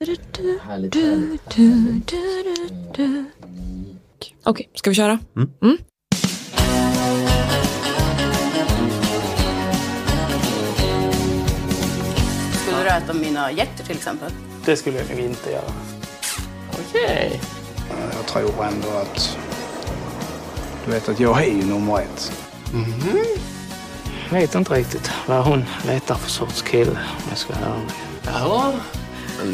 Du, du, Härligt, du, härligt. du, du, du. Okej, ska vi köra? Mm. Skulle du äta mina hjärtor till exempel? Det skulle jag nog inte göra. Okej. Jag tror ändå att... Du vet att jag är ju nummer ett. Jag vet inte riktigt vad hon letar för sorts kille om jag ska vara ärlig. Ja.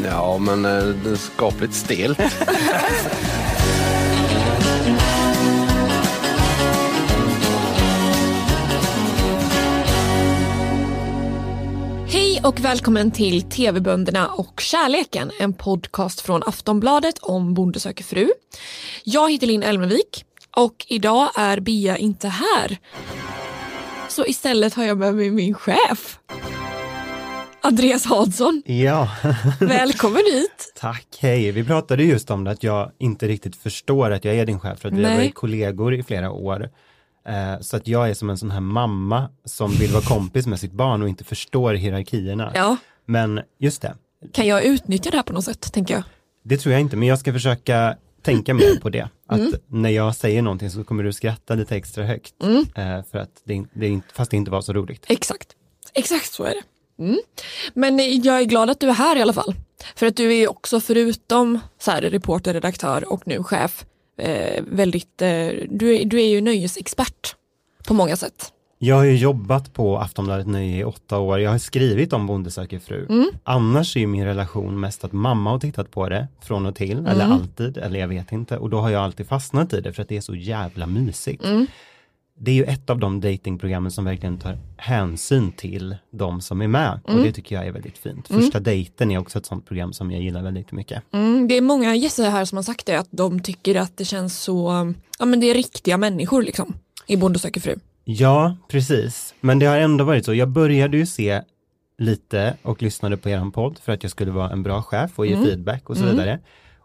Ja, men eh, det är skapligt stelt. Hej och välkommen till TV-bönderna och kärleken, en podcast från Aftonbladet om Bonde söker fru. Jag heter Linn Elmenvik och idag är Bea inte här. Så istället har jag med mig min chef. Andreas Hansson, Ja, välkommen hit. tack. Hej. Vi pratade just om det att jag inte riktigt förstår att jag är din chef för att vi Nej. har varit kollegor i flera år. Eh, Så att jag är som en sån här mamma som vill vara kompis med sitt barn och inte förstår hierarkierna. Ja, Men just det, kan jag utnyttja det här på något sätt, tänker jag. det tror jag inte, men jag ska försöka tänka mer på det. Att Mm. när jag säger någonting så kommer du skratta lite extra högt. Mm. Eh, För att det, det, är inte- fast det inte var så roligt. Exakt. Exakt så är det. Mm. Men eh, jag är glad att du är här i alla fall. För att du är ju också förutom så här, reporter, redaktör och nu chef eh, väldigt, eh, du, är, du är ju nöjesexpert på många sätt. Jag har ju jobbat på Aftonbladet Nöje i åtta år. Jag har skrivit om Bonde söker fru. Annars är ju min relation mest att mamma har tittat på det från och till, eller alltid, eller jag vet inte. Och då har jag alltid fastnat i det för att det är så jävla mysigt. Det är ju ett av de datingprogrammen som verkligen tar hänsyn till de som är med. Och det tycker jag är väldigt fint. Första dejten är också ett sånt program som jag gillar väldigt mycket. Mm, det är många gäster här som har sagt det, att de tycker att det känns så, ja men det är riktiga människor liksom i Bonde söker fru. Ja, precis. Men det har ändå varit så. Jag började ju se lite och lyssnade på er podd för att jag skulle vara en bra chef och ge Mm. feedback och så vidare.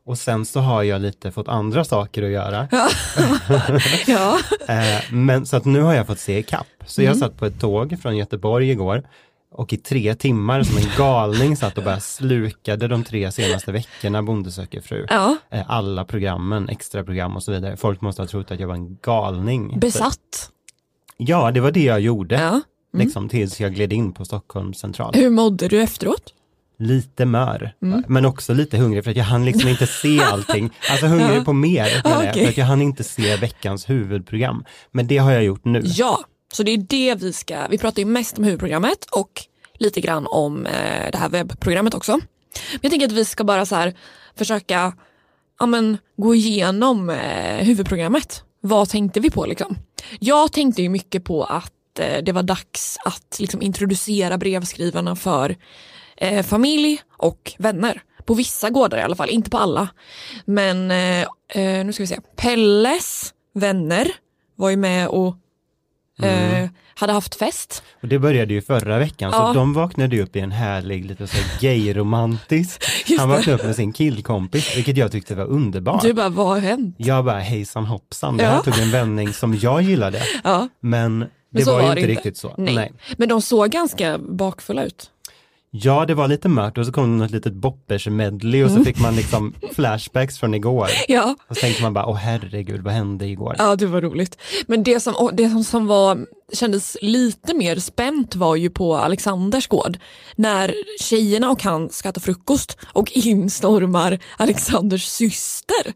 Och sen så har jag lite fått andra saker att göra. Ja, Eh, men så att nu har jag fått se ikapp. Så Mm. jag satt på ett tåg från Göteborg igår och i tre timmar som en galning satt och bara slukade de tre senaste veckorna Bonde söker fru. ja. Eh, Alla programmen, extra program och så vidare. Folk måste ha trott att jag var en galning. besatt. Ja, det var det jag gjorde. Ja. Liksom tills jag gled in på Stockholm central. Hur mådde du efteråt? Lite mör, Mm. men också lite hungrig för att jag hann liksom inte se allting. Alltså hungrig på mer, menar jag, Okej. för att jag hann inte se veckans huvudprogram. Men det har jag gjort nu. Ja, så det är det vi ska, vi pratar ju mest om huvudprogrammet och lite grann om eh, det här webbprogrammet också. Men jag tänker att vi ska bara så här försöka ja, men, gå igenom eh, huvudprogrammet. Vad tänkte vi på liksom? Jag tänkte ju mycket på att eh, det var dags att liksom, introducera brevskrivarna för eh, familj och vänner. På vissa gårdar i alla fall, inte på alla. Men eh, eh, nu ska vi se. Pelles vänner var ju med och Mm. eh, hade haft fest. Och det började ju förra veckan, Ja. så de vaknade ju upp i en härlig, lite så här gay-romantisk. Just Han det. vaknade upp med sin killkompis, vilket jag tyckte var underbart. Du bara, vad har hänt? Jag bara hejsan hoppsan, det Ja. här tog en vändning som jag gillade. Ja, Men det men så var ju var det inte inte. riktigt så. nej. Men de såg ganska bakfulla ut. Ja, det var lite mört och så kom det något litet boppers-medley och så fick man liksom flashbacks från igår. Ja, Och så tänkte man bara, åh herregud, vad hände igår? ja det var roligt. Men det som, och det som, som var, kändes lite mer spänt var ju på Alexanders gård. När tjejerna och han ska äta frukost och instormar Alexanders syster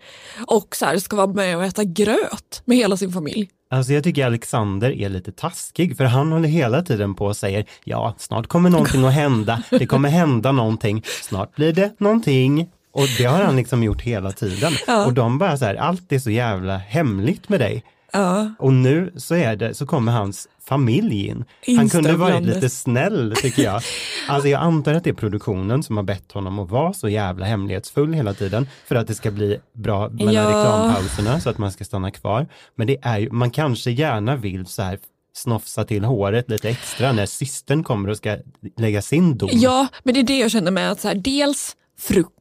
och så här ska vara med och äta gröt med hela sin familj. Alltså jag tycker Alexander är lite taskig, för han håller hela tiden på och säger, ja, snart kommer någonting att hända, det kommer hända någonting, snart blir det någonting. Och det har han liksom gjort hela tiden. Och de bara så här, allt är så jävla hemligt med dig. Och nu så, är det, så kommer hans familj in. Han kunde varit Instövlandes. lite snäll tycker jag. Alltså jag antar att det är produktionen som har bett honom att vara så jävla hemlighetsfull hela tiden för att det ska bli bra mellan Ja. reklampauserna så att man ska stanna kvar. Men det är ju, man kanske gärna vill så här snofsa till håret lite extra när systern kommer och ska lägga sin dom. Ja, men det är det jag känner med att så här, dels frukost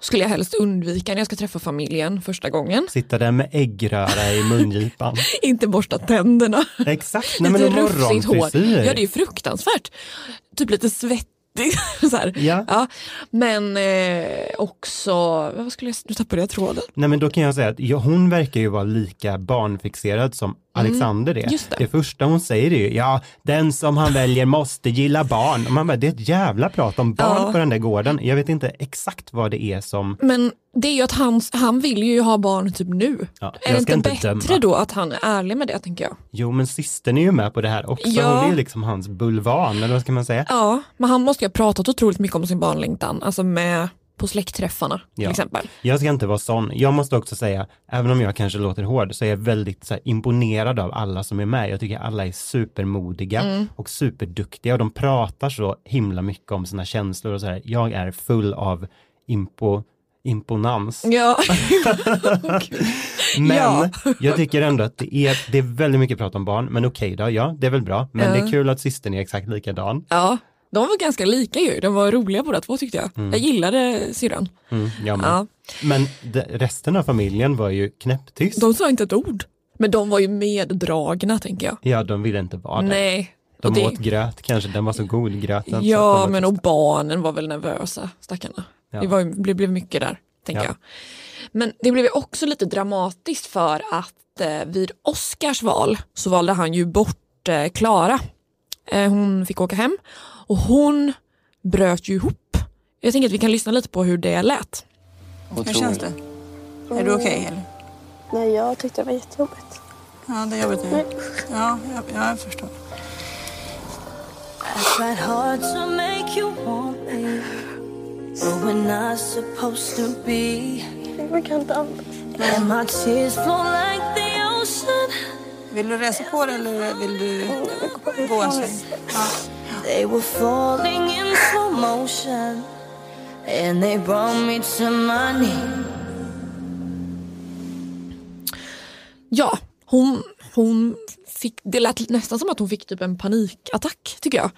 skulle jag helst undvika när jag ska träffa familjen första gången. Sitta där med äggröra i mungipan. Inte borsta tänderna. Exakt, nej men lite en rufsigt hår. morgonfrisyr. Ja, det är fruktansvärt. Typ lite svettig Det är så här. Ja. Ja. Men eh, också, vad skulle jag, nu tappade jag tråden. Nej men då kan jag säga att ja, hon verkar ju vara lika barnfixerad som Alexander är. Mm, just det. första hon säger är ju, ja den som han väljer måste gilla barn. Och man bara, det är ett jävla prat om barn Ja. på den där gården. Jag vet inte exakt vad det är som, Men det är ju att han, han vill ju ha barn typ nu. Ja, är jag det ska inte, inte bättre döma. då att han är ärlig med det tänker jag? jo men systern är ju med på det här också. Ja. Hon är ju liksom hans bulvan, eller vad ska man säga? Ja, men han måste ju ha pratat otroligt mycket om sin barnlängtan, alltså med på släktträffarna till Ja. exempel. Jag ska inte vara sån. Jag måste också säga, även om jag kanske låter hård, så är jag väldigt så här, imponerad av alla som är med. Jag tycker alla är supermodiga Mm. och superduktiga och de pratar så himla mycket om sina känslor och så här. Jag är full av impo, imponans. Ja, Men Ja. jag tycker ändå att det är, det är väldigt mycket prat om barn, men okej då, ja, det är väl bra. Men det är kul att systern är exakt likadan. ja. De var ganska lika ju, de var roliga båda två tyckte jag. Jag gillade syrran. Mm, jag med. Ja. Men de, resten av familjen var ju knäpptyst. De sa inte ett ord, men de var ju meddragna tänker jag. Ja, de ville inte vara där. Nej. De och det- åt gröt kanske, den var så god gröten. så att Ja, de var men och tysta. barnen var väl nervösa, stackarna. Ja. Det, var, ju- det blev mycket där, tänker Ja. jag. Men det blev ju också lite dramatiskt för att eh, vid Oscars val så valde han ju bort eh, Klara. Eh, hon fick åka hem och hon bröt ju ihop. Jag tänker att vi kan lyssna lite på hur det lät. Hur känns det? Är du okej? eller? Nej, jag tyckte det var jättejobbigt. ja, det är jobbigt Mm. nu. Ja, jag, jag förstår. I tried hard to make you want me, but we're not supposed to be. Jag kan inte andas. And my tears flow like the ocean. Vill du resa på dig eller vill du gå en sväng? They were falling in slow motion, and they brought me to my knees. Ja, hon, hon fick, det lät nästan som att hon fick typ en panikattack tycker jag.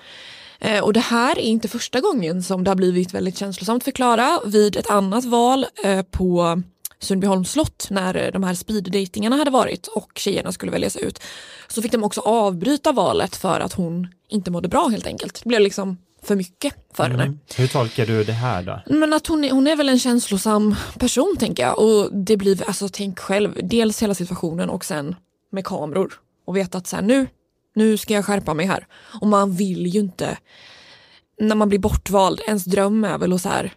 Eh, och det här är inte första gången som det har blivit väldigt känslosamt för Klara. Vid ett annat val eh, på Sundbyholms slott när eh, de här speeddejtingarna hade varit och tjejerna skulle väljas ut så fick de också avbryta valet för att hon inte mådde bra helt enkelt. Det blev liksom för mycket för henne. Mm. Hur tolkar du det här då? Men att hon är, hon är väl en känslosam person tänker jag. Och det blir, alltså tänk själv, dels hela situationen och sen med kameror. Och veta att så här, nu, nu ska jag skärpa mig här. Och man vill ju inte, när man blir bortvald, ens dröm är väl att så här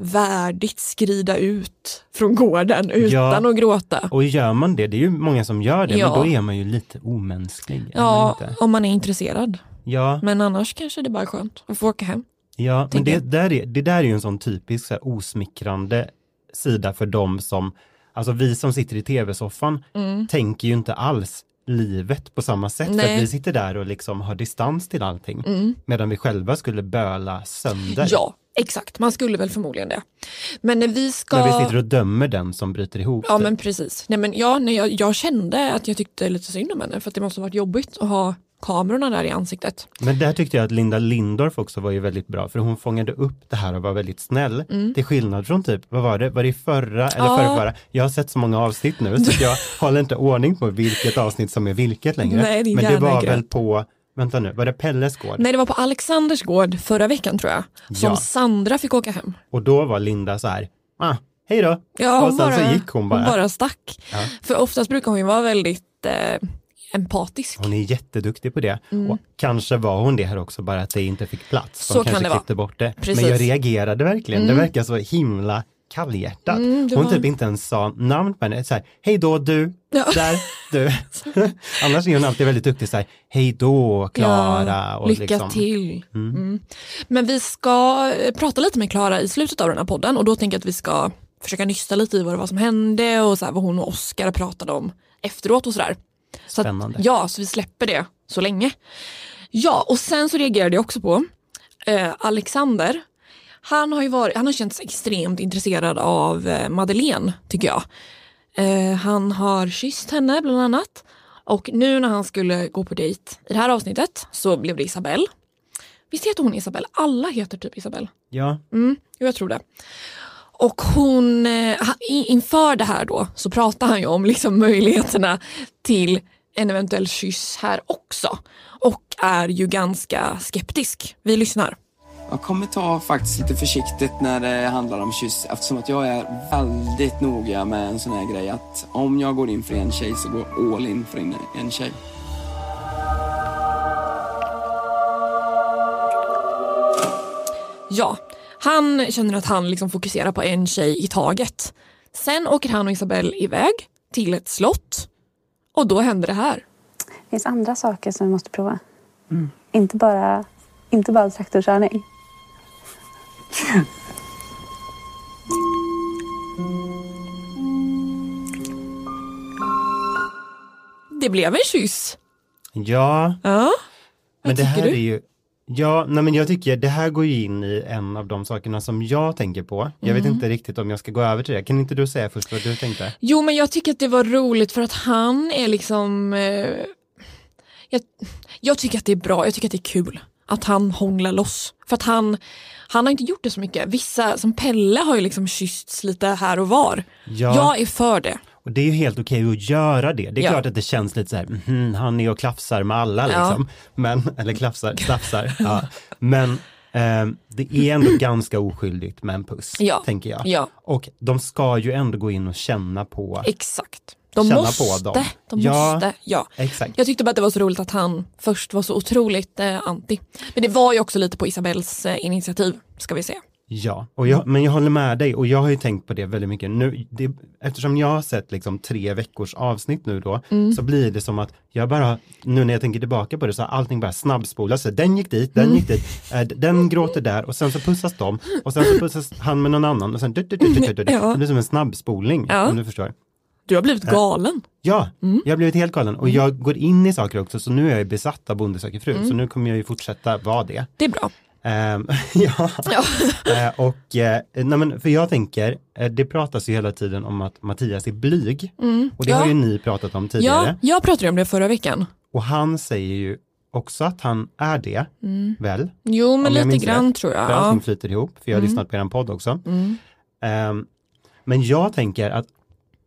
värdigt skrida ut från gården utan att gråta. Och gör man det, det är ju många som gör det, Ja. men då är man ju lite omänsklig. är man Ja, inte? om man är intresserad. ja, Men annars kanske det bara är skönt att få åka hem. ja men tänker det jag. där, är, det där är ju en sån typisk så här, osmickrande sida för dem som, alltså vi som sitter i tv-soffan tänker ju inte alls livet på samma sätt. För Mm. Nej. Mm. att vi sitter där och liksom har distans till allting. Medan vi själva skulle böla sönder. Ja, exakt. Man skulle väl förmodligen det. Men när vi ska... När vi sitter och dömer den som bryter ihop. Ja typ. men precis. Nej, men ja, nej, jag, jag kände att jag tyckte lite synd om henne för att det måste ha varit jobbigt att ha kamerorna där i ansiktet. Men där tyckte jag att Linda Lindorff också var ju väldigt bra, för hon fångade upp det här och var väldigt snäll. Till skillnad från typ, vad var det, var det i förra eller Mm. Ja. förra, förra? Jag har sett så många avsnitt nu så att jag håller inte ordning på vilket avsnitt som är vilket längre. Nej, din Men det hjärna är var grön. väl på, vänta nu, var det Pelles gård? Nej det var på Alexanders gård förra veckan tror jag som Ja. Sandra fick åka hem. Och då var Linda så här, ah, hej då. Ja, och sen så gick hon bara. hon bara stack. Ja. För oftast brukar hon ju vara väldigt eh, empatisk. Hon är jätteduktig på det. Och kanske var hon det här också, bara att det inte fick plats. De Mm. Så kan kanske det vara. klippte bort det. Precis. Men jag reagerade verkligen. Det verkar så himla kallhjärtat. Mm, det hon var- typ inte ens sa namn på henne. Så här, hej då du, Ja. där, du. Annars är hon alltid väldigt duktig så här, hej då Klara. Ja, och lycka liksom, till. Mm. Men vi ska eh, prata lite med Klara i slutet av den här podden och då tänker jag att vi ska försöka nysta lite i vad det var som hände och så här, vad hon och Oscar pratade om efteråt och sådär. Så att, Spännande. ja, så vi släpper det så länge. Ja, och sen så reagerade jag också på eh, Alexander. Han har ju varit, han har känts extremt intresserad av eh, Madeleine, tycker jag. Eh, han har kysst henne bland annat. Och nu när han skulle gå på dejt i det här avsnittet så blev det Isabelle. Visst heter hon Isabelle? Alla heter typ Isabelle. Ja, Jo, jag tror det. Och hon, eh, ha- i- inför det här då så pratar han ju om liksom möjligheterna till en eventuell kyss här också. Och är ju ganska skeptisk. Vi lyssnar. Jag kommer ta faktiskt lite försiktigt när det handlar om kyss eftersom att jag är väldigt noga med en sån här grej att om jag går in för en tjej så går jag all in för en, en tjej. Ja, han känner att han liksom fokuserar på en tjej i taget. Sen åker han och Isabelle iväg till ett slott och då händer det här. Det finns andra saker som vi måste prova. Inte, bara, inte bara traktorkörning. Det blev en kyss. Ja, Ja, men det här tycker du? är ju Ja, nej men jag tycker det här går ju in i en av de sakerna som jag tänker på. Jag Mm. vet inte riktigt om jag ska gå över till det. Kan inte du säga först vad du tänkte? Jo men jag tycker att det var roligt för att han är liksom... Eh, jag, jag tycker att det är bra, jag tycker att det är kul att han hånglar loss. För att han, han har inte gjort det så mycket. Vissa, som Pelle har ju liksom kyssts lite här och var. Ja. Jag är för det. Och det är ju helt okej att göra det. Det är Ja. klart att det känns lite så här, "Mhm, han är och klafsar med alla liksom. Men, eller klafsar, klafsar. ja. Men ehm, det är ändå ganska oskyldigt med en puss, Ja. tänker jag. Ja. Och de ska ju ändå gå in och känna på, Exakt. De Känna måste. på dem. De Ja. måste. Ja. exakt. Jag tyckte bara att det var så roligt att han först var så otroligt eh, anti. Men det var ju också lite på Isabells eh, initiativ, ska vi säga. Ja, och jag, men jag håller med dig och jag har ju tänkt på det väldigt mycket nu. Det, eftersom jag har sett liksom tre veckors avsnitt nu då, Mm. så blir det som att jag bara, nu när jag tänker tillbaka på det så har allting bara snabbspolats. Så Den gick dit, den gick Mm. dit, eh, d- den gråter där och sen så pussas de och sen så pussas han med någon annan och sen du, du, du, du, du, du. Ja. Det blir som en snabbspolning, Ja. Mm. om du förstår. Du har Äh. blivit galen. Ja, jag har blivit helt galen och jag går in i saker också så nu är jag ju besatt av Bonde söker fru Mm. så nu kommer jag ju fortsätta vara det. Det är bra. Ehm, ja. Ja. Eh, och, eh, nej men, för jag tänker, eh, det pratas ju hela tiden om att Mattias är blyg. Och det Mm. ja. har ju ni pratat om tidigare. Ja, jag pratade ju om det förra veckan. Och han säger ju också att han är det, Mm. väl? Jo, men Om jag lite minns grann rätt. tror För jag. allting Ja. Mm. flyter ihop, för jag har lyssnat på er podd också. Ehm, men jag tänker att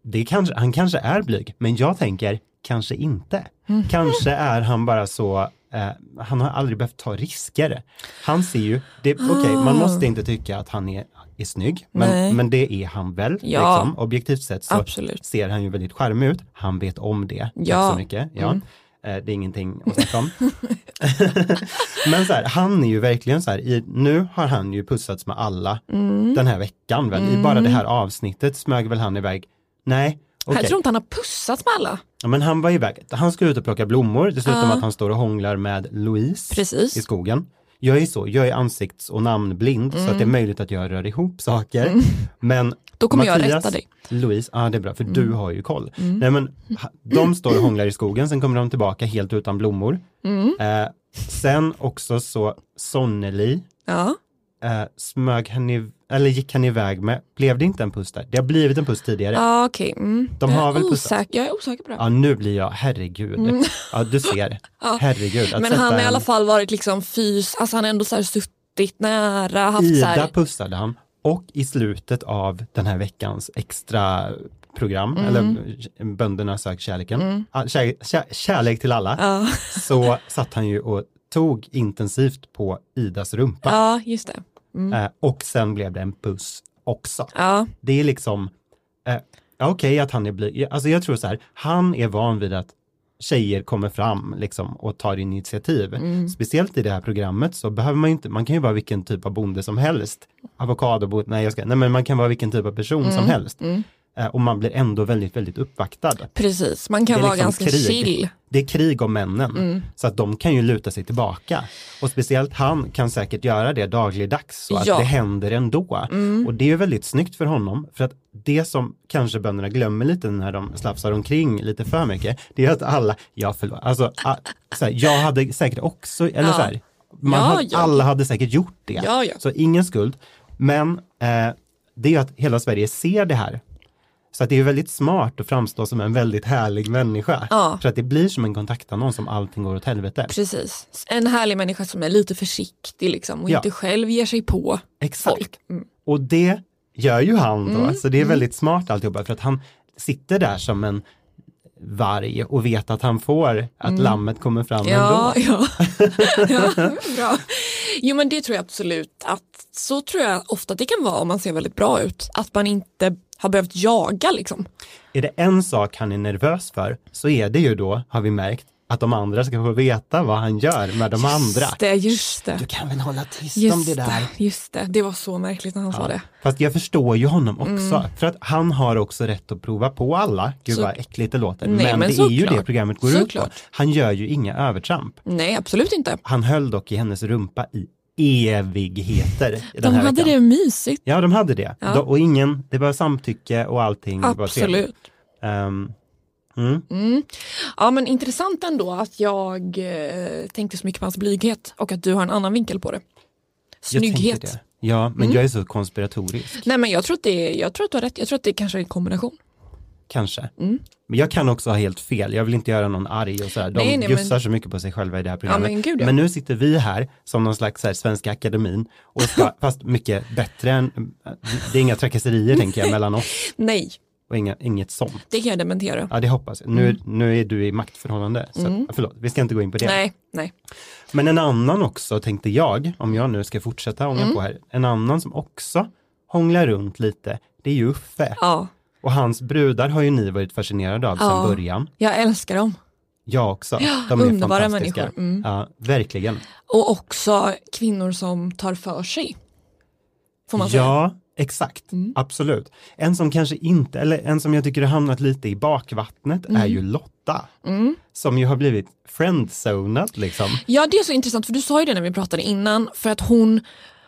det kanske, han kanske är blyg, men jag tänker kanske inte. Mm. Kanske är han bara så, eh, han har aldrig behövt ta risker. Han ser ju, det- okej man måste inte tycka att han är, är snygg, Ah. Nej. men, men det är han väl. Ja. Liksom. Objektivt sett så Absolut. ser han ju väldigt charmig ut, han vet om det. Ja. Mm. Tack så mycket. Ja. Eh, det är ingenting att snacka om. Men så här, han är ju verkligen så här, i, nu har han ju pussats med alla Mm. den här veckan väl, i bara det här avsnittet smög väl han iväg, nej, okej, Jag tror inte han har pussats med alla. Ja, men han var iväg, han ska ut och plocka blommor, det slutar med att han står och hånglar med Louise Precis. i skogen. Jag är så, jag är ansikts och namnblind så att Mm. det är möjligt att jag rör ihop saker. Men Då kommer jag Mattias, rätta dig. Mm. Louise, ja ah, det är bra för du har ju koll. Nej men ha- de står och hånglar i skogen, sen kommer de tillbaka helt utan blommor. Mm. Eh, sen också så Sonneli Ja. eh, smög han i, eller gick han iväg med, blev det inte en puss där? Det har blivit en puss tidigare. Ja, okej. Mm. De Jag har är väl pussat? osäker. Jag är osäker på det. Ja nu blir jag, herregud. Ja du ser, herregud. att Mm. Men han sätta har i en- alla fall varit liksom fys, alltså han har ändå så här suttit nära, haft så Ida här, pussade han och i slutet av den här veckans extra program, Mm. eller Bönderna sök kärleken, Ah, kär, kär, kärlek till alla, så satt han ju och tog intensivt på Idas rumpa ja just det. Mm. eh, och sen blev det en puss också. Ja, Det är liksom, eh, ja, okej att han är blyg, alltså jag tror så här, han är van vid att tjejer kommer fram liksom och tar initiativ. Speciellt i det här programmet så behöver man ju inte, man kan ju vara vilken typ av bonde som helst. Avokadobonde, nej jag ska, nej men man kan vara vilken typ av person som helst. Eh, och man blir ändå väldigt, väldigt uppvaktad. precis. Man kan Det är vara liksom ganska krig. chill. Mm. Det är krig om männen, så att de kan ju luta sig tillbaka. Och speciellt han kan säkert göra det dagligdags så att Ja. Mm. det händer ändå. Och det är ju väldigt snyggt för honom, för att det som kanske bönderna glömmer lite när de slafsar omkring lite för mycket, det är att alla, ja förlåt, alltså, a, så här, jag hade säkert också, eller Ja. så här, man Ja, hade, ja. alla hade säkert gjort det. Ja, ja. Så ingen skuld. Men eh, det är ju att hela Sverige ser det här så att det är ju väldigt smart att framstå som en väldigt härlig människa. Ja. För att det blir som en kontaktannons om allting går åt helvete. Precis. En härlig människa som är lite försiktig liksom och Ja. inte själv ger sig på. Exakt. folk. Och det gör ju han då. Mm. Så det är väldigt smart alltihopa för att han sitter där som en varg och vet Mm. att han får att lammet kommer fram Ja, ändå. ja. ja bra. Jo men det tror jag absolut att så tror jag ofta att det kan vara om man ser väldigt bra ut. Att man inte har behövt jaga liksom. Är det en sak han är nervös för så är det ju då, har vi märkt, att de andra ska få veta vad han gör med de andra. Just det, just det. Du kan väl hålla tyst om Just det där. det, just det. Det var så märkligt när han sa det. Fast jag förstår ju honom också, för att han har också rätt att prova på alla. Gud Mm. Så- vad äckligt det låter, Nej, men men, det är ju såklart. det programmet går ut på. Såklart. Han gör ju inga övertramp. Nej, absolut inte. Han höll dock i hennes rumpa i evigheter. i De den här hade veckan. det mysigt. Ja, de hade det. Ja. De, och ingen, det var samtycke och allting. var trevligt. Absolut. Ehm, mm. Ja men intressant ändå att jag eh, tänkte så mycket på hans blyghet och att du har en annan vinkel på det. jag tänkte Snygghet. Mm. det. Ja, men jag är så konspiratorisk, Nej men jag tror, att det är, jag tror att du har rätt, jag tror att det kanske är en kombination. kanske. Mm. Men jag kan också ha helt fel, jag vill inte göra någon arg och sådär. De Nej, nej, men- bjussar så mycket på sig själva i det här programmet. men gud, ja. nu sitter vi här som någon slags så här, Svenska Akademin, och ska, fast mycket bättre än, det är inga trakasserier tänker jag mellan oss Nej, och inga, inget sånt. det kan jag dementera. Ja, det hoppas jag. Nu, Mm. nu är du i maktförhållande, så förlåt, vi ska inte gå in på det. Nej, nej. Men en annan också tänkte jag, om jag nu ska fortsätta ånga Mm. på här, en annan som också hånglar runt lite, det är ju Uffe. Ja, Och hans brudar har ju ni varit fascinerade av Ja. sedan början. jag älskar dem. Jag också. De är underbara fantastiska. människor. Mm. Ja, verkligen. Och också kvinnor som tar för sig. Får man Mm. säga. Ja, exakt. Absolut. En som kanske inte, eller en som jag tycker har hamnat lite i bakvattnet är ju Mm. Lotta. Som ju har blivit friendzonad liksom. Ja det är så intressant för du sa ju det när vi pratade innan för att hon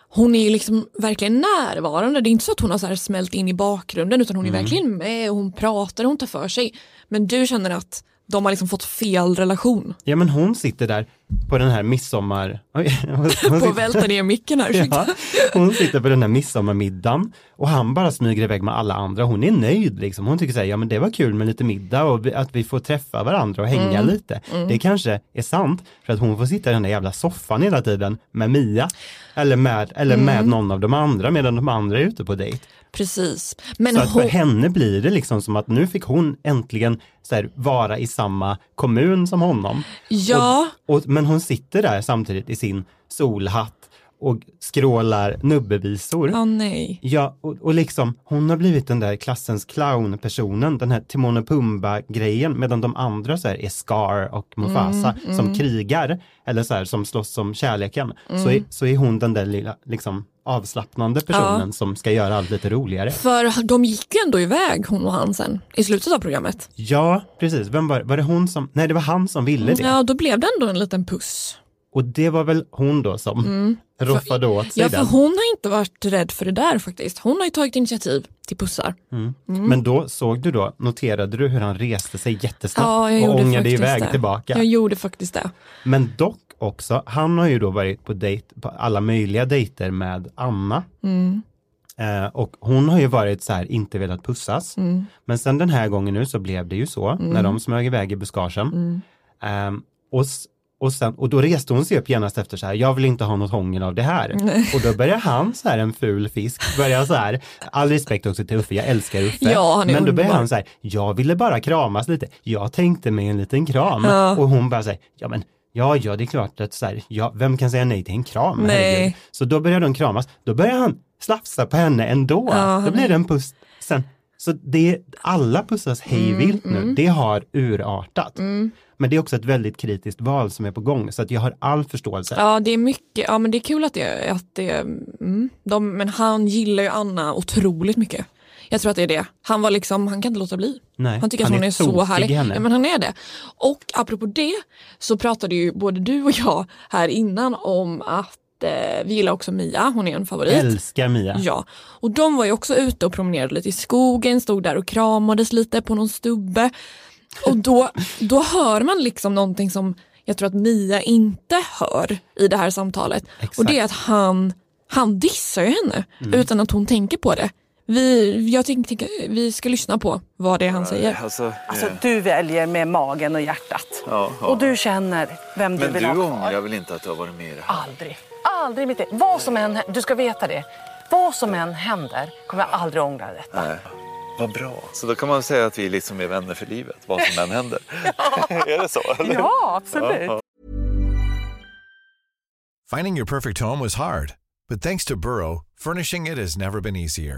hon är ju liksom verkligen närvarande. Det är inte så att hon har så här smält in i bakgrunden utan Mm. hon är verkligen med och hon pratar och hon tar för sig. Men du känner att de har liksom fått fel relation. Ja men hon sitter där på den här midsommar... Oj, hon På sitter- att välta ner micken här, ursäkta. Ja, hon sitter på den här midsommarmiddagen och han bara smyger iväg med alla andra. Hon är nöjd liksom. Hon tycker så här, ja men det var kul med lite middag och vi- att vi får träffa varandra och hänga Mm. lite. Det kanske är sant för att hon får sitta i den där jävla soffan hela tiden med Mia eller med, eller Mm. med någon av de andra medan de andra är ute på dejt. Precis. Men Så att för hon, henne blir det liksom som att nu fick hon äntligen så här, vara i samma kommun som honom. ja, Och, och, men hon sitter där samtidigt i sin solhatt och skrålar nubbevisor. ja nej. Ja, och, och liksom hon har blivit den där klassens clownpersonen, den här Timon och Pumba-grejen, medan de andra så här är Scar och Mufasa Mm, som krigar, eller så här som slåss om kärleken, Mm. så, är, så är hon den där lilla, liksom avslappnande personen som ska göra allt lite roligare. För de gick ju ändå iväg hon och han sen i slutet av programmet. Ja, precis. Vem var, var det hon som, nej det var han som ville det. Ja, då blev det ändå en liten puss. Och det var väl hon då som roffade åt sig Ja, Mm. för den. hon har inte varit rädd för det där faktiskt. Hon har ju tagit initiativ till pussar. Mm. Men då såg du då, noterade du hur han reste sig jättesnabbt Ja, jag och gjorde ångade faktiskt iväg det. tillbaka. Jag gjorde faktiskt det. Men dock också, han har ju då varit på, dejt, på alla möjliga dejter med Anna. Mm. Eh, och hon har ju varit så här, inte velat pussas. Mm. Men sen den här gången nu så blev det ju så, när de smög iväg i buskagen. Mm. Ehm, och, s- och, sen, och då reste hon sig upp genast efter så här, jag vill inte ha något hångel av det här. Och då börjar han så här, en ful fisk, börjar så här, all respekt också till Uffe, jag älskar Uffe. Ja, han är Men då börjar underbar. han så här, jag ville bara kramas lite, jag tänkte mig en liten kram. Och hon bara så här, ja men Ja, ja, det är klart att så här, ja, vem kan säga nej till en kram? Nej. Herregud. Så då börjar de kramas, då börjar han slafsa på henne ändå. då blir det en puss sen. Så det, alla pussas hejvilt Mm, nu, det har urartat. Men det är också ett väldigt kritiskt val som är på gång, så att jag har all förståelse. Ja, det är mycket. Ja, men det är kul att det, att det mm, de, men han gillar ju Anna otroligt mycket. Jag tror att det är det. Han var liksom, han kan inte låta bli. Nej, han tycker att han hon är är, så tokig härlig. i henne. Ja, men han är det. Och apropå det så pratade ju både du och jag här innan om att eh, vi gillar också Mia, hon är en favorit. Älskar Mia. Ja, och de var ju också ute och promenerade lite i skogen, stod där och kramades lite på någon stubbe. Och då, då hör man liksom någonting som jag tror att Mia inte hör i det här samtalet. Exakt. Mm. Och det är att han, han dissar ju henne utan att hon tänker på det. Vi, jag tänk, tänk, vi ska lyssna på vad det är han säger. Alltså, du väljer med magen och hjärtat. Och du känner vem du vill ha kvar. Men du ångrar väl inte att du har varit med i det Aldrig. Aldrig i mitt liv. Vad som än hä- Du ska veta det. Vad som än händer kommer jag aldrig ångra detta. Vad bra. Så då kan man säga att vi liksom är vänner för livet, vad som än händer. är det så? Ja, absolut. Finding your perfect home was hard, but thanks to Burrow, furnishing it has never been easier.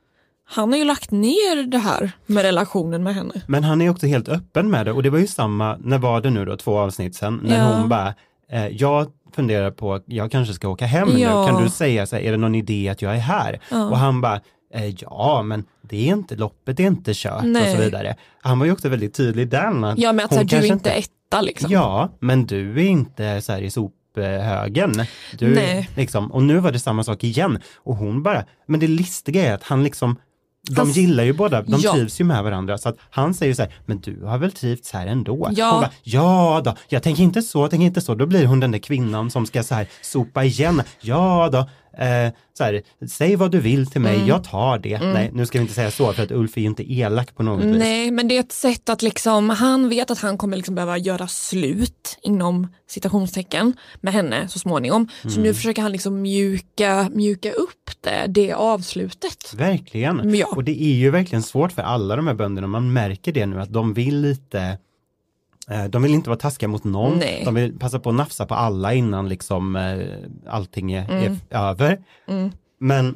han har ju lagt ner det här med relationen med henne. Men han är också helt öppen med det och det var ju samma, när var det nu då, två avsnitt sen, när Ja. hon bara, eh, jag funderar på, jag kanske ska åka hem Ja. nu, kan du säga så här, är det någon idé att jag är här? Ja. Och han bara, eh, ja men det är inte, loppet är inte kört och Nej. så vidare. Han var ju också väldigt tydlig där. Att Ja men att så hon här, du är kanske inte etta liksom. Ja, men du är inte så här i sophögen. Du, Nej. Liksom, och nu var det samma sak igen. Och hon bara, men det listiga är att han liksom, de Han s- gillar ju båda, de Ja. trivs ju med varandra. Så att han säger så här, men du har väl trivts här ändå? Ja. Hon bara, ja då, jag tänker inte så, tänker inte så. Då blir hon den där kvinnan som ska så här sopa igen. Ja då, eh, så här, säg vad du vill till Mm. mig, jag tar det. Nej, nu ska vi inte säga så, för att Ulf är ju inte elak på något vis. Nej men det är ett sätt att liksom, han vet att han kommer liksom behöva göra slut inom citationstecken med henne så småningom. Så nu försöker han liksom mjuka, mjuka upp det, det avslutet. Verkligen. Ja. Och det är ju verkligen svårt för alla de här bönderna. Man märker det nu att de vill lite eh, de vill inte vara taskiga mot någon, Nej. de vill passa på att nafsa på alla innan liksom eh, allting är, Mm. är f- över. Men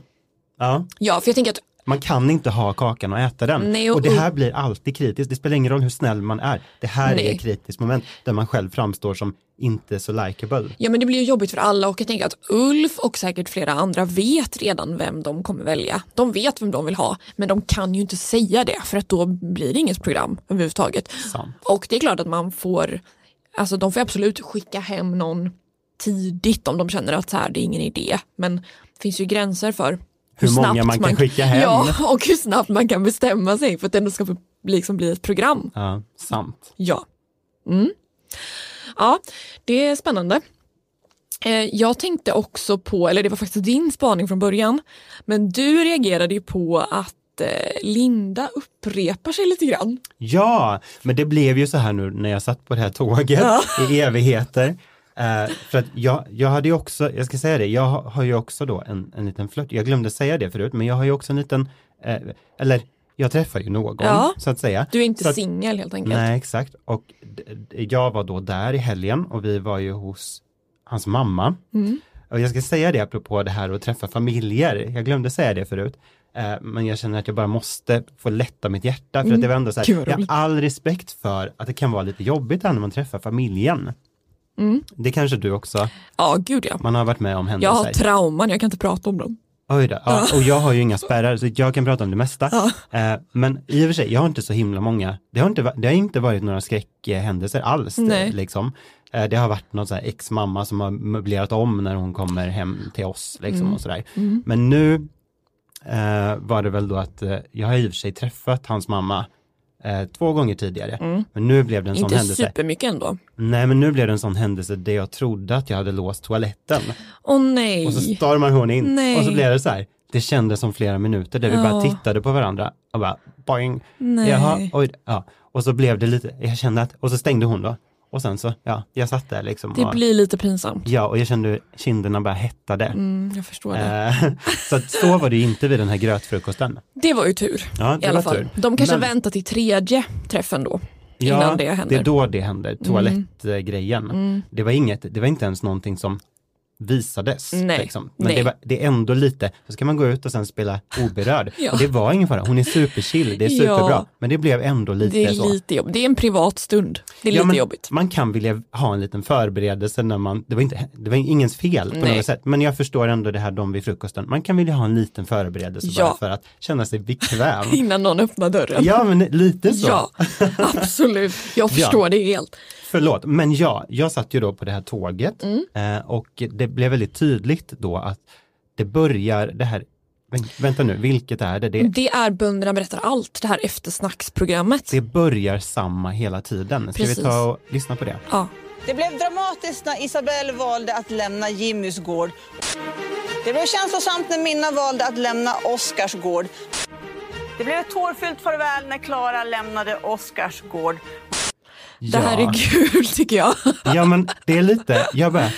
ja, Ja för jag tänker att man kan inte ha kakan och äta den. Nej, och, och- det här blir alltid kritiskt, det spelar ingen roll hur snäll man är. Det här är Nej. ett kritiskt moment där man själv framstår som inte så likeable. Ja men det blir ju jobbigt för alla och jag tänker att Ulf och säkert flera andra vet redan vem de kommer välja. De vet vem de vill ha men de kan ju inte säga det för att då blir det inget program överhuvudtaget. Sant. Och det är klart att man får, alltså de får absolut skicka hem någon tidigt om de känner att så här, det är ingen idé. Men det finns ju gränser för Hur många man kan skicka hem. Ja och hur snabbt man kan bestämma sig för att det ändå ska liksom bli ett program. Ja, sant. Ja. Mm. Ja, det är spännande. Eh, Jag tänkte också på, eller det var faktiskt din spaning från början, men du reagerade ju på att eh, Linda upprepar sig lite grann. Ja, men det blev ju så här nu när jag satt på det här tåget i evigheter. Eh, för att jag, jag hade ju också, jag ska säga det, jag har, har ju också då en, en liten flört, jag glömde säga det förut, men jag har ju också en liten, eh, eller jag träffar ju någon Ja. så att säga. Du är inte Så att- singel helt enkelt. Nej, exakt. Och d- d- jag var då där i helgen och vi var ju hos hans mamma. Mm. Och jag ska säga det apropå det här att träffa familjer. Jag glömde säga det förut. Eh, Men jag känner att jag bara måste få lätta mitt hjärta. För att det var ändå så här, Mm. Gud, vad jag har roligt. all respekt för att det kan vara lite jobbigt här när man träffar familjen. Mm. Det kanske du också, Ja, gud ja. man har varit med om Jag händelser. har trauman, jag kan inte prata om dem. Oj då, ja, och jag har ju inga spärrar så jag kan prata om det mesta. Eh, men i och för sig, jag har inte så himla många, det har inte, va- det har inte varit några skräckhändelser alls. Nej. Liksom. Eh, det har varit någon så här ex-mamma som har möblerat om när hon kommer hem till oss. Liksom, Mm. och sådär. Men nu eh, var det väl då att eh, jag har i och för sig träffat hans mamma eh, två gånger tidigare. Men nu blev det en sån Mm. Inte händelse. supermycket ändå. Nej men nu blev det en sån händelse där jag trodde att jag hade låst toaletten. Åh nej. Och så stormar hon in Nej. och så blev det så här. Det kändes som flera minuter där vi bara Ja. tittade på varandra och bara boing. Nej. Jaha, oj, ja. Och så blev det lite, jag kände att, och så stängde hon då. Och sen så, ja, jag satt där liksom. det och, blir lite pinsamt. Ja, och jag kände hur kinderna bara hettade. Mm, jag förstår det. Eh, så att så var det ju inte vid den här grötfrukosten. Det var ju tur Ja, det i alla var fall. tur. De kanske Men- väntar till tredje träffen då. Innan ja, det händer. Mm. det är då det händer, toalettgrejen. Det var inget, det var inte ens någonting som visades. Nej, Liksom. Men nej. Det, var, det är ändå lite, så ska man gå ut och sen spela oberörd. Ja. Och det var ingen fara, hon är superchill, det är Ja. superbra. Men det blev ändå lite Det är så. lite jobbigt. Det är en privat stund. Det är Ja, lite men jobbigt. Man kan vilja ha en liten förberedelse när man, det var, inte, det var ingens fel på Nej. något sätt, men jag förstår ändå det här de vid frukosten. Man kan vilja ha en liten förberedelse bara Ja. för att känna sig bekväm. Innan någon öppnar dörren. ja, men lite så. Ja, absolut. Jag förstår det helt. Förlåt, men ja, jag satt ju då på det här tåget Mm. eh, och det blev väldigt tydligt då att det börjar det här, vänt- vänta nu, vilket är det? Det, Det är Bönderna berättar allt, det här eftersnacksprogrammet. det börjar samma hela tiden. Ska vi Precis. ta och lyssna på det? Ja. Det blev dramatiskt när Isabelle valde att lämna Jimmys gård. Det var känslosamt när Minna valde att lämna Oscarsgård. Det blev ett tårfyllt farväl när Klara lämnade Oscarsgård. Det här är kul tycker jag. Ja men det är lite, jag bara,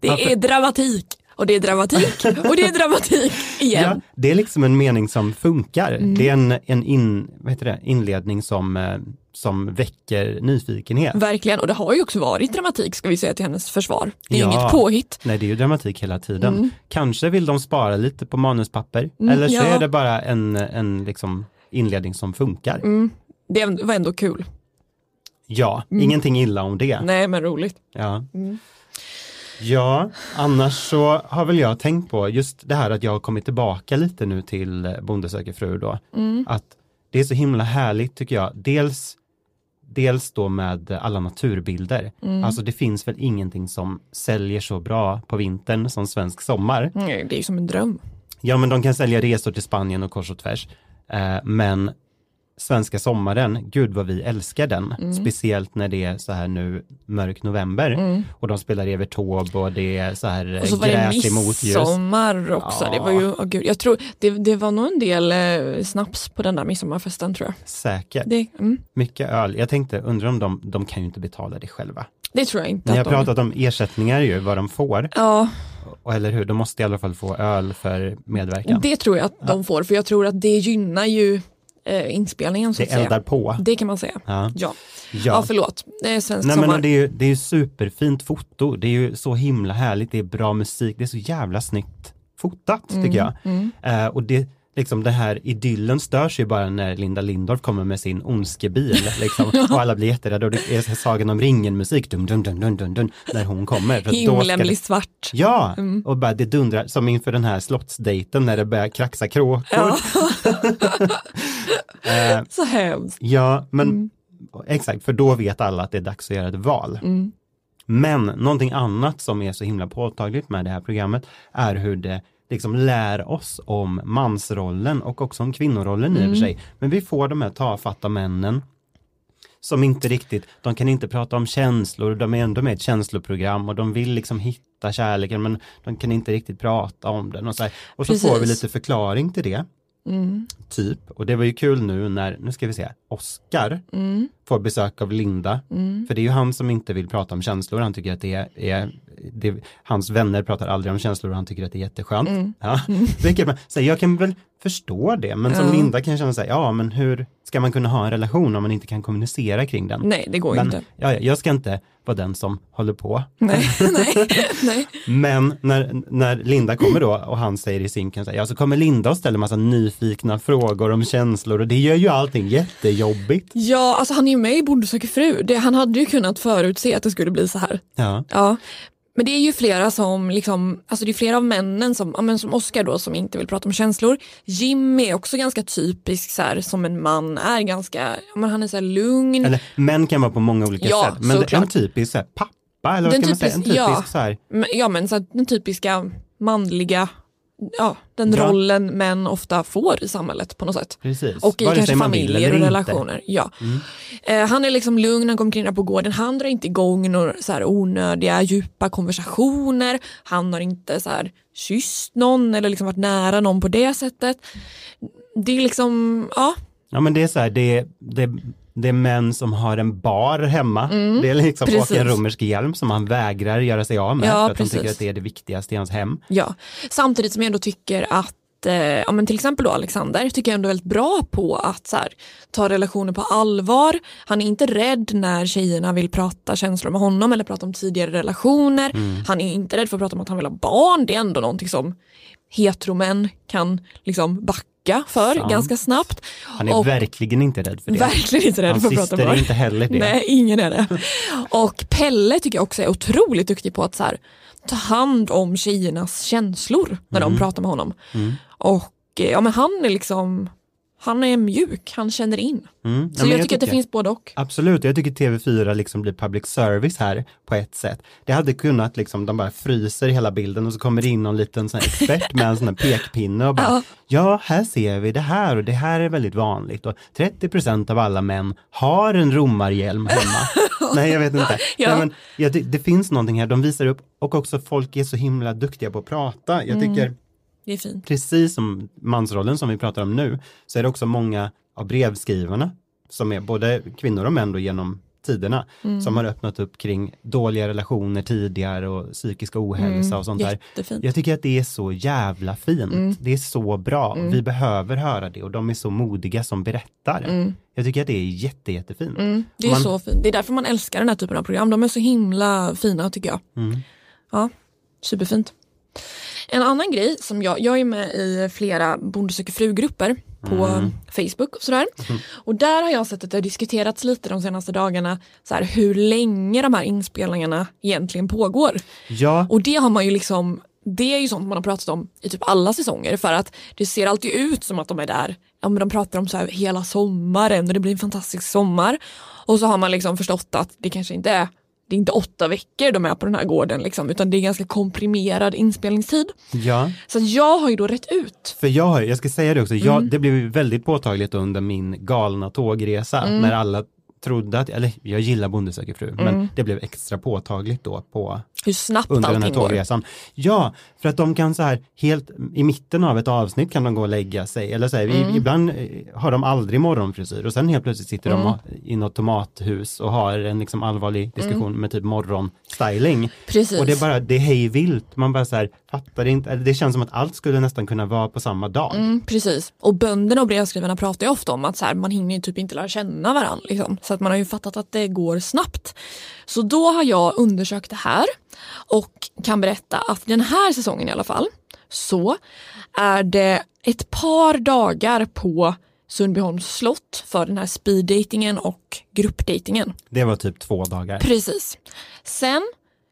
Det är dramatik och det är dramatik och det är dramatik ja, igen. det är liksom en mening som funkar. Mm. Det är en, en in, vad heter det, inledning som, eh, som väcker nyfikenhet. Verkligen, och det har ju också varit dramatik ska vi säga till hennes försvar. Det är Ja. inget påhitt. Nej, det är ju dramatik hela tiden. Mm. Kanske vill de spara lite på manuspapper, Mm, eller så ja. är det bara en, en liksom inledning som funkar. Mm. Det var ändå kul. Ja, Mm. ingenting illa om det. Nej men roligt. Ja. Mm. ja, annars så har väl jag tänkt på just det här att jag har kommit tillbaka lite nu till Bonde söker fru då. Mm. Att det är så himla härligt tycker jag. Dels, dels då med alla naturbilder. Mm. Alltså det finns väl ingenting som säljer så bra på vintern som svensk sommar. Nej, Mm, det är ju som en dröm. Ja, men de kan sälja resor till Spanien och kors och tvärs. Eh, men svenska sommaren, gud vad vi älskar den. Mm. Speciellt när det är så här nu mörk november Mm. och de spelar Evert Taube och det är så här Och så eh, var det gräs i motljus. midsommar också. Det var ju, åh gud, jag tror, det, det var nog en del eh, snaps på den där midsommarfesten tror jag. Säkert. Det, mm, Mycket öl. Jag tänkte, undrar om de, de kan ju inte betala det själva. det tror jag inte. Ni har att de- pratat om ersättningar ju, vad de får. Ja, Och, eller hur, de måste i alla fall få öl för medverkan. det tror jag att de får för jag tror att det gynnar ju eh, inspelningen. Så Det att säga. eldar på. Det kan man säga. Ja. Ja, Ja. ja förlåt. Det är svensk Nej, men sommar. och det, är ju, det är ju superfint foto, det är ju så himla härligt, det är bra musik, det är så jävla snyggt fotat Mm, tycker jag. mm. Eh, och det, liksom det här idyllen störs ju bara när Linda Lindorff kommer med sin ondskebil liksom, och alla blir jätterädda och det är så här Sagan om ringen musik, dum, dum, dum, dum, dum, dum, när hon kommer. För att då ska Himlen det- blir svart. Ja, Mm. och bara det dundrar som inför den här slottsdejten när det börjar kraxa kråkor. Ja. Eh, Så hemskt. Ja, men exakt, för då vet alla att det är dags att göra ett val. Mm. Men någonting annat som är så himla påtagligt med det här programmet är hur det liksom lär oss om mansrollen och också om kvinnorollen i och Mm. för sig. Men vi får de här tafatta männen som inte riktigt, de kan inte prata om känslor, de är ändå med i ett känsloprogram och de vill liksom hitta kärleken men de kan inte riktigt prata om den och så, här. Och så får vi Precis. lite förklaring till det, Mm. typ. Och det var ju kul nu när, nu ska vi se, Oscar Mm. får besök av Linda. Mm. För det är ju han som inte vill prata om känslor. Han tycker att det är, är det, hans vänner pratar aldrig om känslor och han tycker att det är jätteskönt. Mm. Ja. Vilket man, så här, jag kan väl förstå det, men som Ja. Linda kan känna sig, ja men hur ska man kunna ha en relation om man inte kan kommunicera kring den? Nej, det går men, inte. Ja, ja, jag ska inte vara den som håller på. Nej, nej, nej. Men när, när Linda kommer då och han säger i sinken, så, här, ja, så kommer Linda och ställer massa nyfikna frågor om känslor och det gör ju allting jättejobbigt. Ja, alltså han är ju med i Bonde söker fru. Det, han hade ju kunnat förutse att det skulle bli så här. Ja. Ja, men det är ju flera som liksom, alltså det är flera av männen som, ja, men som Oscar då som inte vill prata om känslor. Jim är också ganska typisk så här som en man är, ganska, ja, men han är så här lugn. Eller män kan vara på många olika Ja, sätt. Men det är en såklart. typisk så här, pappa eller vad Den kan man säga? En typisk- typisk ja. så här, Men- Ja men så här, den typiska manliga, ja den Ja. rollen män ofta får i samhället på något sätt. precis. Och i Vare sig kanske man vill familjer eller och inte. Mm. relationer. Ja. Eh, han är liksom lugn, han går omkring där på gården, han drar inte igång några så här onödiga djupa konversationer, han har inte så här kysst någon eller liksom varit nära någon på det sättet. Det är liksom, ja, Ja men det är så här, det är, det, är- det är män som har en bar hemma. Mm, Det är liksom precis. och en romersk hjälm som han vägrar göra sig av med. Ja, för att precis. han tycker att det är det viktigaste i hans hem. ja. Samtidigt som jag ändå tycker att eh, ja, men till exempel då Alexander tycker jag ändå är väldigt bra på att så här, ta relationer på allvar. Han är inte rädd när tjejerna vill prata känslor med honom eller prata om tidigare relationer. Mm. Han är inte rädd för att prata om att han vill ha barn. Det är ändå någonting som heteromän kan liksom backa för Sant. ganska snabbt. Han är Och- verkligen inte rädd för det. Verkligen inte rädd Hans för att prata syster barn. är inte heller det. Nej, ingen är det. Och Pelle tycker jag också är otroligt duktig på att så här, ta hand om tjejernas känslor när de Mm. pratar med honom. Mm. Och eh, ja, men han är liksom, han är mjuk, han känner in. Mm. Ja, Så men jag, tycker att det finns både och. Absolut, jag tycker TV4 liksom blir public service här på ett sätt. Det hade kunnat liksom, de bara fryser hela bilden och så kommer det in någon liten sån här expert med en sån här pekpinne och bara, ja. här ser vi det här och det här är väldigt vanligt och 30 procent av alla män har en romarhjälm hemma. Nej, jag vet inte. Ja. Nej, men, ja, det, det finns någonting här, de visar upp och också folk är så himla duktiga på att prata. Jag Mm. tycker Det är fint. precis som mansrollen som vi pratar om nu, så är det också många av brevskrivarna, som är både kvinnor och män då genom tiderna, Mm. som har öppnat upp kring dåliga relationer tidigare och psykisk ohälsa Mm, och sånt där. jättefint. Jag tycker att det är så jävla fint. Mm. Det är så bra. Mm. Vi behöver höra det och de är så modiga som berättar. Mm. Jag tycker att det är jätte, jättefint. Mm, det är Man- så fint. Det är därför man älskar den här typen av program. De är så himla fina tycker jag. Mm. Ja, superfint. En annan grej som jag, jag är med i flera Bonde söker fru-grupper på Mm. Facebook och sådär. Mm. Och där har jag sett att det har diskuterats lite de senaste dagarna så här, hur länge de här inspelningarna egentligen pågår. Ja, Och det har man ju liksom, det är ju sånt man har pratat om i typ alla säsonger för att det ser alltid ut som att de är där. Ja, men de pratar om så här hela sommaren och det blir en fantastisk sommar. Och så har man liksom förstått att det kanske inte är, det är inte åtta veckor de är på den här gården liksom, utan det är ganska komprimerad inspelningstid. ja. Så att jag har ju då rätt ut. För jag, har, jag ska säga det också, jag, Mm. det blev ju väldigt påtagligt under min galna tågresa Mm. när alla trodde att, eller jag gillar Bonde söker fru, Mm. men det blev extra påtagligt då på hur snabbt under den här allting går. tågresan. Ja, för att de kan så här, helt i mitten av ett avsnitt kan de gå och lägga sig, eller så här, Mm. i, ibland eh, har de aldrig morgonfrisyr och sen helt plötsligt sitter de Mm. ha- i något tomathus och har en liksom allvarlig diskussion Mm. med typ morgonstyling. Precis. Och det är bara, det är hej vilt, man bara så här, fattar inte, eller det känns som att allt skulle nästan kunna vara på samma dag. Mm, precis. Och bönderna och brevskrivarna pratar ju ofta om att så här, man hinner ju typ inte lära känna varandra. Liksom. Så att man har ju fattat att det går snabbt. Så då har jag undersökt det här och kan berätta att den här säsongen i alla fall så är det ett par dagar på Sundbyholms slott för den här speeddatingen och gruppdatingen. Det var typ två dagar. Precis. Sen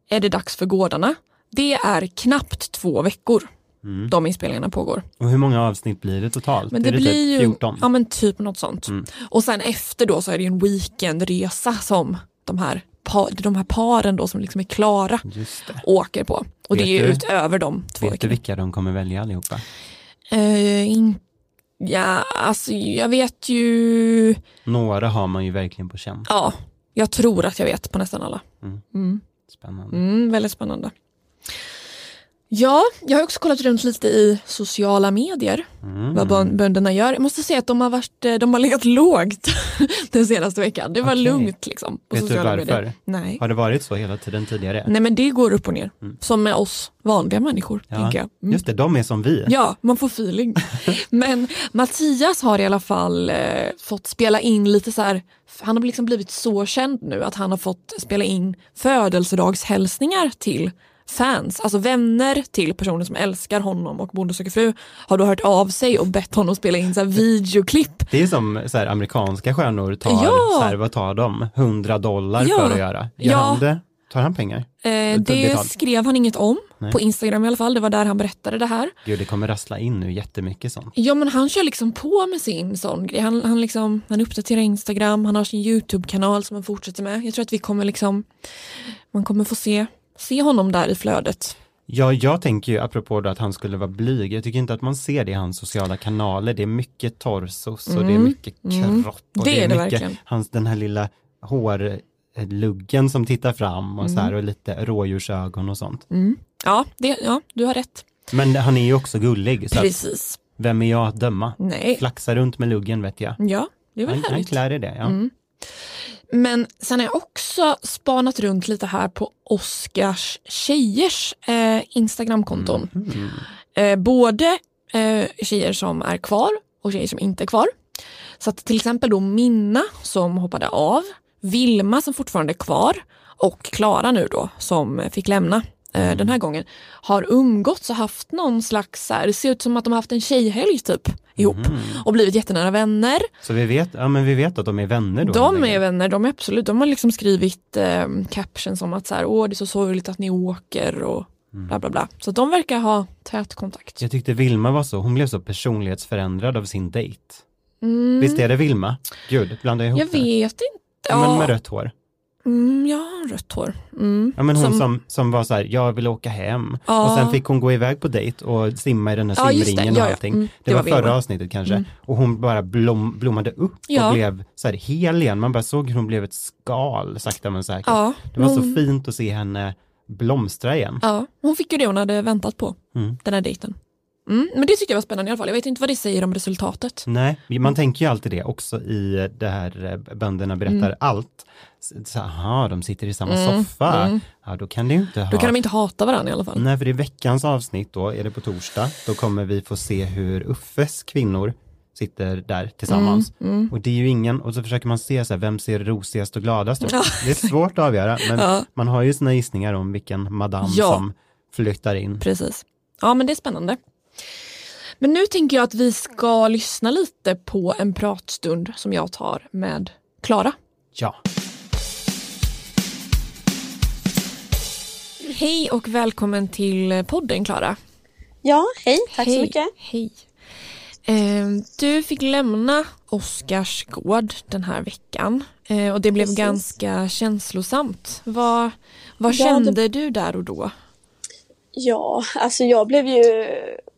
är det dags för gårdarna. Det är knappt två veckor Mm. de inspelningarna pågår. Och hur många avsnitt blir det totalt? Men det, är det blir typ ju 14? ja, men typ något sånt. Mm. Och sen efter då så är det ju en weekendresa som de här, pa- de här paren då som liksom är klara Just det. åker på. Och det Vet är ju du- utöver de två Vet du veckorna. vilka de kommer välja allihopa? Eh, in- ja, alltså jag vet ju, Några har man ju verkligen på känn. ja, jag tror att jag vet på nästan alla. Mm. Mm. Spännande. Mm, väldigt spännande. Ja, jag har också kollat runt lite i sociala medier. Mm. Vad bön- bönderna gör. Jag måste säga att de har, varit, eh, de har legat lågt den senaste veckan. Det var Okej. lugnt liksom. På Vet du sociala varför? medier. Nej. Har det varit så hela tiden tidigare? Nej men det går upp och ner. Mm. Som med oss vanliga människor. Ja. tänker jag. Mm. Just det, de är som vi. Ja, man får feeling. Men Mattias har i alla fall eh, fått spela in lite så här, han har liksom blivit så känd nu att han har fått spela in födelsedagshälsningar till fans, alltså vänner till personer som älskar honom och Bonde söker fru har då hört av sig och bett honom spela in så här videoklipp. Det är som så här, amerikanska stjärnor tar, Ja. så här, vad tar de? 100 dollar Ja. för att göra. Gör Ja. han det? Tar han pengar? Eh, det betalt. skrev han inget om Nej. på Instagram i alla fall, det var där han berättade det här. Gud, det kommer rassla in nu jättemycket sånt. Ja men han kör liksom på med sin sån grej. Han, han, liksom, han uppdaterar Instagram, han har sin YouTube-kanal som han fortsätter med. Jag tror att vi kommer liksom, man kommer få se, se honom där i flödet. Ja, jag tänker ju apropå då att han skulle vara blyg, jag tycker inte att man ser det i hans sociala kanaler. Det är mycket torsos och det är Mm, mycket mm. kropp. Och Det är det mycket, verkligen. Hans, den här lilla hårluggen som tittar fram och så här Mm. och lite rådjursögon och sånt. Mm. Ja, det, ja, du har rätt. Men han är ju också gullig. Så att Precis. vem är jag att döma? Nej. Flaxa runt med luggen vet jag. Ja, det är väl han, han härligt. klär i det, ja. Mm. Men sen har jag också spanat runt lite här på Oscars tjejers eh, Instagramkonton. Mm. Eh, både eh, tjejer som är kvar och tjejer som inte är kvar. Så att till exempel då Minna som hoppade av, Vilma som fortfarande är kvar och Klara nu då som fick lämna eh, den här gången har umgåtts och haft någon slags, så här, det ser ut som att de har haft en tjejhelg typ ihop och blivit jättenära vänner. Så vi vet, ja, men vi vet att de är vänner då. De är vänner, de är absolut, de har liksom skrivit eh, captions om att så här, åh det är så sorgligt att ni åker och Mm. bla bla bla. Så att de verkar ha tät kontakt. Jag tyckte Vilma var så, hon blev så personlighetsförändrad av sin dejt. Mm. Visst är det Vilma? Gud, blandar jag ihop Jag det? vet inte. Ja. Men Ja, med rött hår. Mm, ja, rött hår. Mm. Ja, men hon som, som, var så här, jag vill åka hem. Ja. Och sen fick hon gå iväg på dejt och simma i den här Ja, just det. simringen Ja, och ja. allting. Mm, Det, det var var förra Wilma. avsnittet kanske. Mm. Och hon bara blom, blommade upp Ja. och blev så här hel igen. Man bara såg hur hon blev ett skal sakta men säkert. Ja, Det var så hon- fint att se henne blomstra igen. Ja, hon fick ju det hon hade väntat på, Mm. den här dejten. Mm, men det tyckte jag var spännande i alla fall. Jag vet inte vad det säger om resultatet. Nej, Mm. man tänker ju alltid det också i det här eh, bönderna berättar Mm. allt. Så- Så, aha, de sitter i samma Mm, soffa. mm. Ja, då kan det ju inte ha... Då kan de inte hata varandra i alla fall. Nej, för i veckans avsnitt då, är det på torsdag, då kommer vi få se hur Uffes kvinnor sitter där tillsammans. Mm, mm. Och det är ju ingen, och så försöker man se så här, vem ser rosigast och gladast ut? Ja. Det är svårt att avgöra, men Ja. man har ju sina gissningar om vilken madam Ja. som flyttar in. Precis. Ja, men det är spännande. Men nu tänker jag att vi ska lyssna lite på en pratstund som jag tar med Klara. Ja. Hej och välkommen till podden Klara. Ja, hej. Tack Hej, så mycket. Hej. Ehm, Du fick lämna Oscars gård den här veckan eh, och det blev Precis. ganska känslosamt. Vad, vad Ja, kände det- du där och då? Ja, alltså jag blev ju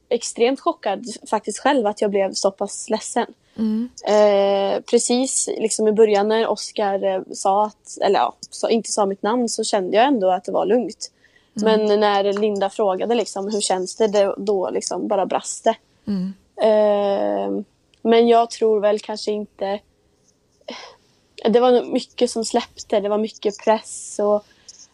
extremt chockad faktiskt själv att jag blev så pass ledsen. Mm. Eh, precis liksom i början när Oscar eh, sa att, eller ja, sa, inte sa mitt namn så kände jag ändå att det var lugnt. Mm. Men när Linda frågade liksom hur känns det, det då liksom bara brast det. Mm. Eh, men jag tror väl kanske inte... Det var nog mycket som släppte. Det var mycket press. Och,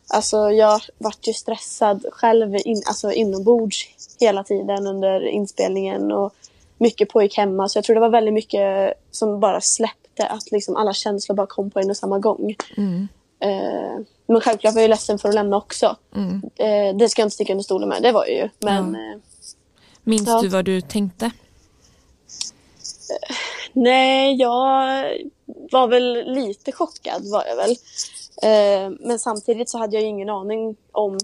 alltså, jag vart ju stressad själv in, alltså, inombords hela tiden under inspelningen. Och eh, mycket pågick hemma. Så jag tror det var väldigt mycket som bara släppte. Att liksom alla känslor bara kom på en och samma gång. Mm. Eh, men självklart var jag ju ledsen för att lämna också. Mm. Eh, det ska jag inte sticka under stolen med. Det var jag ju. Men, Ja. eh, Minns Ja. du vad du tänkte? Nej, jag var väl lite chockad var jag väl. Eh, Men samtidigt så hade jag ju ingen aning om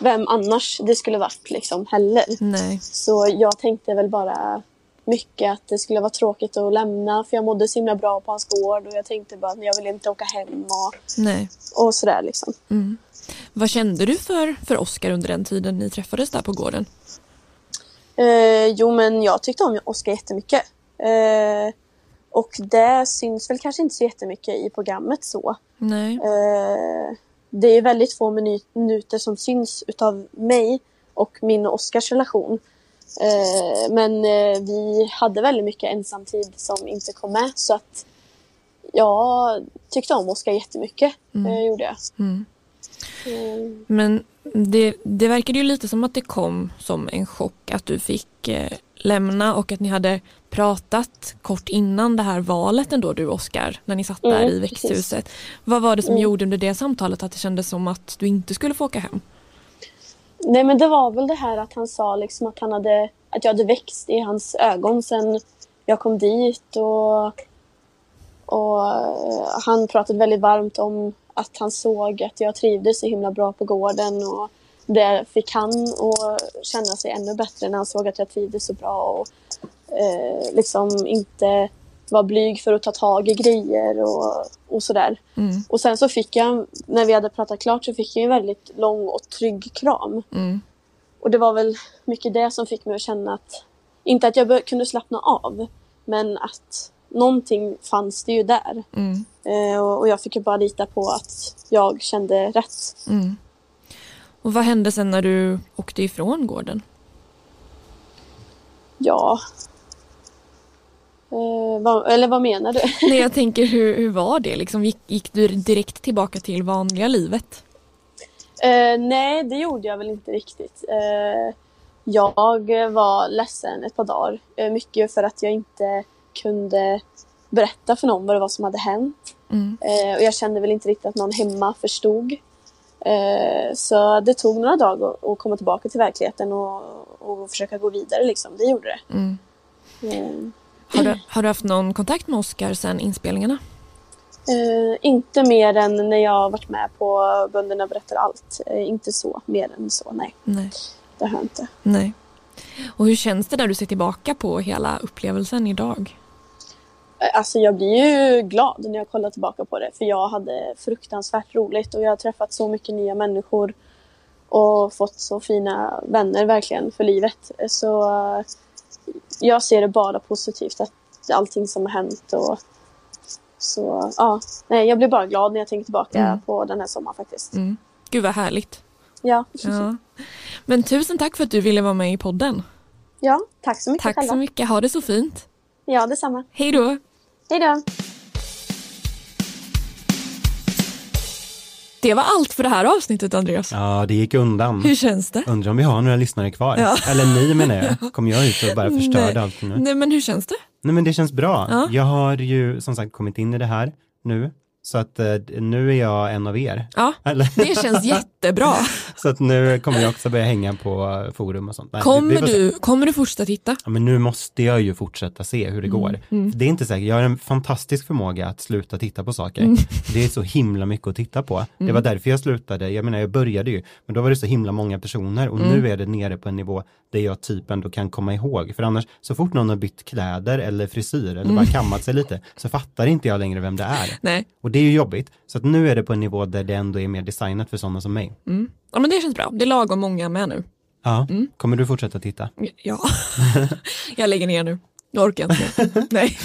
vem annars det skulle varit liksom heller. Nej. Så jag tänkte väl bara mycket att det skulle vara tråkigt att lämna för jag mådde så himla bra på hans gård och jag tänkte bara att jag vill inte åka hem och, Nej. och sådär liksom. Mm. Vad kände du för, för Oscar under den tiden ni träffades där på gården? Eh, jo, men jag tyckte om Oscar jättemycket. Eh, och det syns väl kanske inte så jättemycket i programmet så. Nej. Eh, det är väldigt få minu- minuter som syns utav mig och min och Oscars relation. Eh, men eh, vi hade väldigt mycket ensamtid som inte kom med så att jag tyckte om Oscar jättemycket. Mm. Eh, gjorde jag. Mm. Eh, Men det, det verkade ju lite som att det kom som en chock att du fick eh, lämna och att ni hade pratat kort innan det här valet ändå du och Oscar när ni satt där Mm, i precis. växthuset. Vad var det som Mm. gjorde under det samtalet att det kändes som att du inte skulle få åka hem? Nej men det var väl det här att han sa liksom att han hade att jag hade växt i hans ögon sen jag kom dit och, och eh, han pratade väldigt varmt om att han såg att jag trivdes så himla bra på gården och det fick han att känna sig ännu bättre när han såg att jag trivdes så bra och eh, liksom inte var blyg för att ta tag i grejer och, och sådär. Mm, Och sen så fick jag, när vi hade pratat klart, så fick jag en väldigt lång och trygg kram. mm, Och det var väl mycket det som fick mig att känna att, inte att jag bör- kunde slappna av, men att någonting fanns det ju där. mm, Eh, och, och jag fick ju bara lita på att jag kände rätt. mm. Och vad hände sen när du åkte ifrån gården? Ja. Eh, vad, eller vad menar du? Nej, jag tänker hur, hur var det liksom? Gick, gick du direkt tillbaka till vanliga livet? Eh, nej, det gjorde jag väl inte riktigt. Eh, jag var ledsen ett par dagar. Eh, mycket för att jag inte kunde berätta för någon vad det var som hade hänt. Mm, Eh, och jag kände väl inte riktigt att någon hemma förstod. Eh, så det tog några dagar att- att komma tillbaka till verkligheten och, och försöka gå vidare. Liksom. Det gjorde det. mm. Eh, Har, du, har du haft någon kontakt med Oscar sen inspelningarna? eh, inte mer än när jag varit med på Bönderna berättar allt. Eh, inte så, mer än så. Nej, Nej. det har jag inte. Nej. Och hur känns det när du ser tillbaka på hela upplevelsen idag? Alltså jag blir ju glad när jag kollar tillbaka på det för jag hade fruktansvärt roligt och jag har träffat så mycket nya människor och fått så fina vänner verkligen för livet. Så eh, jag ser det bara positivt, att allting som har hänt och så ja, nej jag blir bara glad när jag tänker tillbaka Mm. på den här sommaren faktiskt. Mm. Gud vad härligt. Ja. Ja. Men tusen tack för att du ville vara med i podden. ja, tack så mycket Tack så själva. mycket. Ha det så fint. Ja, detsamma. Hej då. Hej då. Det var allt för det här avsnittet Andreas. Ja, det gick undan. Hur känns det? Undrar om vi har några lyssnare kvar. Ja. Eller ni menar jag. Kommer jag ut och bara förstörde Nej. allt nu? Nej men hur känns det? Nej men det känns bra. Ja. Jag har ju som sagt kommit in i det här nu. Så att eh, nu är jag en av er. Ja, Eller? det känns jättebra. Så att nu kommer jag också börja hänga på forum och sånt. Nej, vi- vi Kommer får se. du, kommer du fortsätta titta? Ja, men nu måste jag ju fortsätta se hur det Mm, går. mm. För Det är inte säkert, jag har en fantastisk förmåga att sluta titta på saker. Mm. Det är så himla mycket att titta på. Det Mm. var därför jag slutade, jag menar jag började ju, men då var det så himla många personer och Mm. nu är det nere på en nivå där jag typ ändå kan komma ihåg. För annars, så fort någon har bytt kläder eller frisyr eller Mm. bara kammat sig lite, så fattar inte jag längre vem det är. Nej. Och det är ju jobbigt. Så att nu är det på en nivå där det ändå är mer designat för sådana som mig. Mm. Ja men det känns bra. Det är lagom många med nu. Ja, Mm. kommer du fortsätta titta? Ja, jag lägger ner nu. Jag orkar inte mer. Nej.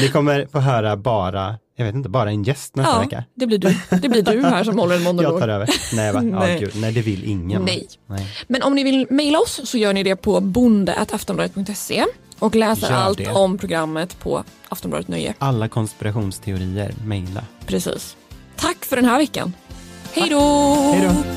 Ni kommer få höra bara, jag vet inte, bara en gäst nästa Ja, vecka. det blir du. Det blir du här som håller en monolog. Jag tar över. Nej, va? Nej. Ja, gud. Nej det vill ingen. Nej. Nej. Men om ni vill mejla oss så gör ni det på bonde.aftonbladet.se och läser Gör allt det. om programmet på Aftonbladet Nöje. Alla konspirationsteorier, mejla. Precis. Tack för den här veckan. Hej då! Hej då!